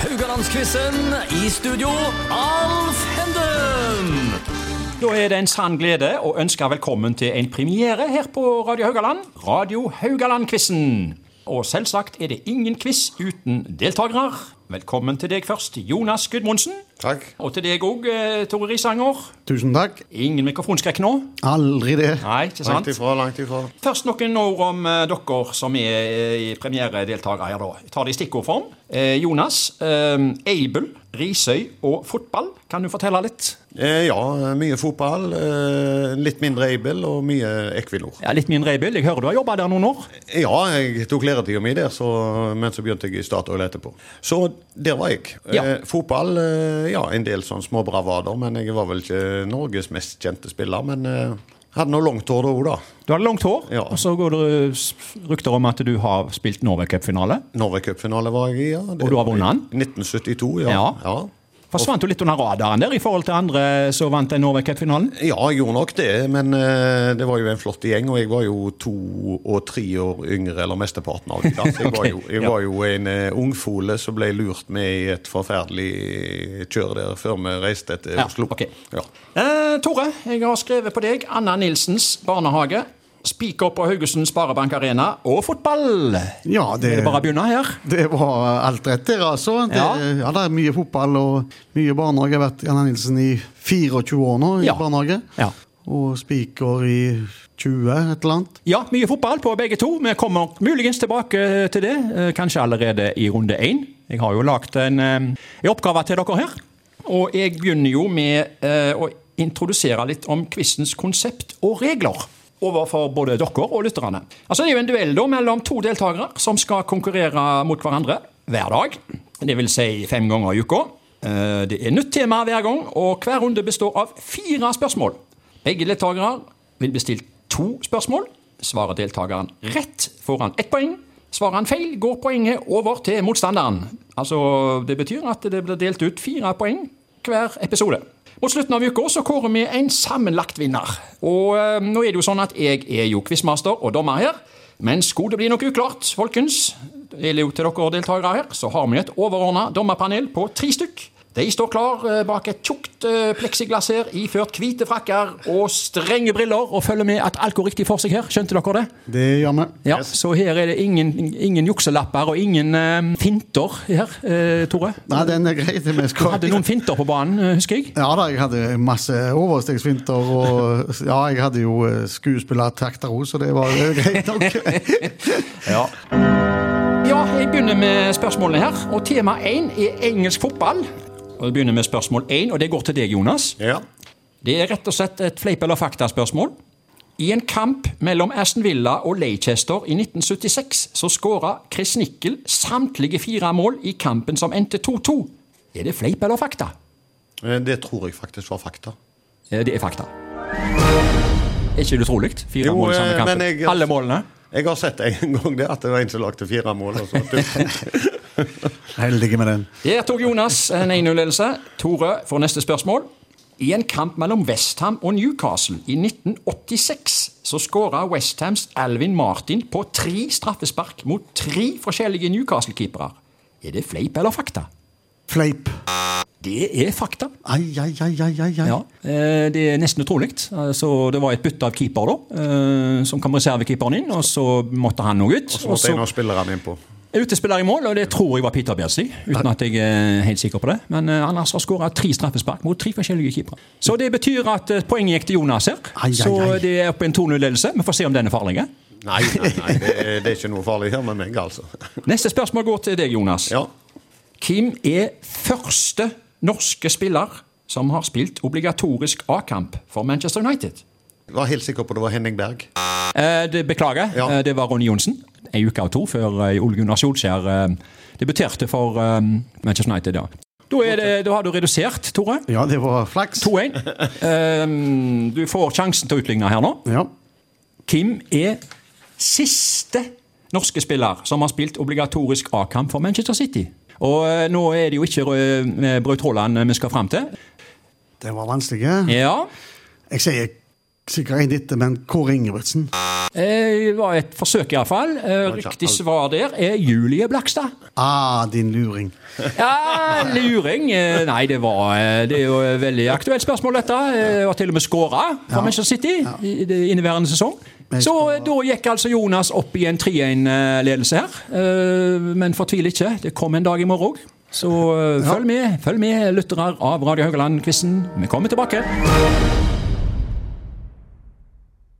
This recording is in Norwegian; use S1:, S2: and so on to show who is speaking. S1: Haugalandsquizen. I studio, Alf Henden.
S2: Da er det en sann glede å ønske velkommen til en premiere her på Radio Haugaland. Radio Haugaland-quizen. Og selvsagt er det ingen quiz uten deltakere. Velkommen til deg først, Jonas Gudmundsen.
S3: Takk.
S2: Og til deg òg, Tore Risanger.
S4: Tusen takk.
S2: Ingen mikrofonskrekk nå?
S4: Aldri det.
S2: Nei, ikke
S3: Langt
S2: sant?
S3: ifra, langt ifra.
S2: Først noen ord om eh, dere som er eh, i premieredeltakere her, da. Jeg tar det i stikkordform. Eh, Jonas, eh, Aibel, Risøy og fotball. Kan du fortelle litt?
S3: Eh, ja, mye fotball. Eh, litt mindre Aibel og mye Equinor.
S2: Ja, Litt mindre Aibel. Jeg hører du har jobba der noen år.
S3: Ja, jeg tok læretida mi der, så, men så begynte jeg i Statoil etterpå. Så der var jeg.
S2: Ja.
S3: Eh, fotball, eh, ja, en del sånn småbravader, men jeg var vel ikke Norges mest kjente spiller. Men eh, hadde nå langt hår da òg, da.
S2: Du hadde langt hår,
S3: Ja.
S2: og så går det eh, s- rykter om at du har spilt Norway Cup-finale.
S3: Norway Cup-finale var jeg i, ja. Det
S2: Og du har
S3: var i
S2: vunnet
S3: 1972, ja.
S2: Ja.
S3: ja.
S2: Forsvant du litt under radaren der i forhold til andre som vant den Norway Cup-finalen?
S3: Ja, jeg gjorde nok det, men eh, det var jo en flott gjeng, og jeg var jo to og tre år yngre, eller mesteparten av dem. da. Så Jeg, var, jo, jeg
S2: ja.
S3: var jo en eh, ungfole som ble lurt med i et forferdelig eh, kjør der før vi reiste til
S2: Ja,
S3: Oslo.
S2: ok.
S3: Ja.
S2: Eh, Tore, jeg har skrevet på deg Anna Nilsens barnehage. Spiker på Haugesund Sparebank Arena og fotball.
S4: Ja, det,
S2: Er det bare å begynne her?
S4: det var alt rett der, altså. Det,
S2: Ja.
S4: ja. det er mye fotball og mye barnehage. Jeg har vært i Anna Nilsen i 24 år nå i
S2: Ja.
S4: barnehage.
S2: Ja.
S4: Og spiker i 20, et eller annet.
S2: Ja, mye fotball på begge to. Vi kommer muligens tilbake til det, eh, kanskje allerede i runde én. Jeg har jo lagt en, eh, en oppgave til dere her. Og jeg begynner jo med eh, å introdusere litt om quizens konsept og regler. Overfor både dere og lytterne. Altså, det er jo en duell da mellom to deltakere som skal konkurrere mot hverandre hver dag. Det vil si fem ganger i uka. Eh, Det er nytt tema hver gang, og hver runde består av fire spørsmål. Begge deltakere vil bli stilt to spørsmål. Svarer deltakeren rett, får han ett poeng. Svarer han feil, går poenget over til motstanderen. Altså, Det betyr at det blir delt ut fire poeng hver episode. Mot slutten av uka så kårer vi en sammenlagt vinner. Og eh, nå er det jo sånn at jeg er jo quizmaster og dommer her. Men skulle det bli noe uklart, folkens, det gjelder jo til dere deltakere her, så har vi et overordna dommerpanel på tre stykk. De står klar eh, bak et tjukt eh, pleksiglass her, iført hvite frakker og strenge briller, og følger med at alt går riktig for seg her. Skjønte dere det?
S4: Det gjør vi.
S2: Ja, Så her er det ingen, ingen jukselapper og ingen eh, finter her, eh, Tore.
S4: Nei, den er grei. det vi
S2: Du
S4: skal-
S2: hadde noen finter på banen, eh, husker jeg.
S4: Ja da, jeg hadde masse overstegsfinter, og ja, jeg hadde jo eh, skuespillertakter òg, så det var jo greit nok.
S2: Ja. ja, jeg begynner med spørsmålene her. Og tema én er engelsk fotball. Og Vi begynner med spørsmål én, og det går til deg, Jonas.
S3: ja.
S2: Det er rett og slett et fleip- eller faktaspørsmål. I en kamp mellom Aston Villa og Leicester i 1976 så skåra Chris Nickel samtlige fire mål i kampen som endte 2-2. Er det fleip eller fakta?
S3: Eh, Det tror jeg faktisk var fakta.
S2: Eh, Det er fakta. Er ikke det utrolig? Fire
S3: Jo,
S2: mål i samme
S3: eh,
S2: kamp.
S3: men jeg-
S2: Alle målene.
S3: Jeg har sett en gang det, at det var en som lagde fire mål. Og så.
S4: Heldige med den.
S2: Der tok Jonas en 1-0-ledelse. Tore får neste spørsmål. I en kamp mellom Westham og Newcastle i 1986 så skåra Westhams Alvin Martin på tre straffespark mot tre forskjellige Newcastle-keepere. Er det fleip eller fakta?
S4: Fleip.
S2: Det er fakta.
S4: Ai, ai, ai, ai, ai. ai.
S2: Ja, eh, Det er nesten utrolig. Eh, Så det var et bytte av keeper, da. eh, Som kom reservekeeperen inn, og så måtte han nå ut.
S3: Så måtte en av spillerne innpå.
S2: Utespiller i mål, og det tror jeg var Peter Bjersi. Uten at jeg er helt sikker på det. Men eh, Anders har skåra tre straffespark mot tre forskjellige keepere. Så det betyr at eh, poenget gikk til Jonas her.
S4: Ai, ai,
S2: Så
S4: ai.
S2: det er oppe i en 2-0-ledelse. Vi får se om den er farlig.
S3: Nei, nei, nei, det, er- det er ikke noe farlig her med meg, altså.
S2: Neste spørsmål går til deg, Jonas.
S3: Ja.
S2: Hvem er første norske spiller som har spilt obligatorisk A-kamp for Manchester United?
S3: Jeg var helt sikker på det var Henning Berg.
S2: Eh, det, beklager,
S3: Ja.
S2: eh, det var Ronny Johnsen. En uke av to før eh, Ole Gunnar Solskjær eh, debuterte for eh, Manchester United. Ja. Da, er det, da har du redusert, Tore.
S4: Ja, det var flaks.
S2: 2-1. Ehm, du får sjansen til å utligne her nå.
S4: Ja.
S2: Kim er siste norske spiller som har spilt obligatorisk A-kamp for Manchester City. Og eh, nå er det jo ikke eh, Braut Haaland vi skal fram til.
S4: Det var vanskelig.
S2: Ja,
S4: Jeg sier sikkert en etter, men Kåre Ingebrigtsen.
S2: Eh, Det var et forsøk, iallfall.
S3: ikke
S2: Riktig
S3: alt.
S2: Eh, svar der er Julie Blakstad.
S4: Ah, din luring.
S2: Ja, luring. Eh, Nei, det var eh, Det er jo et veldig aktuelt spørsmål, dette. Eh, Og til og med skåra fra
S4: Ja.
S2: Manchester City i i det inneværende sesong.
S4: Men
S2: Så eh, da gikk altså Jonas opp i en 3-1-ledelse her. Eh, Men fortvil ikke, det kom en dag i morgen òg. Så eh, følg med, følg med, lyttere av Radio Haugaland-quizen. Vi kommer tilbake.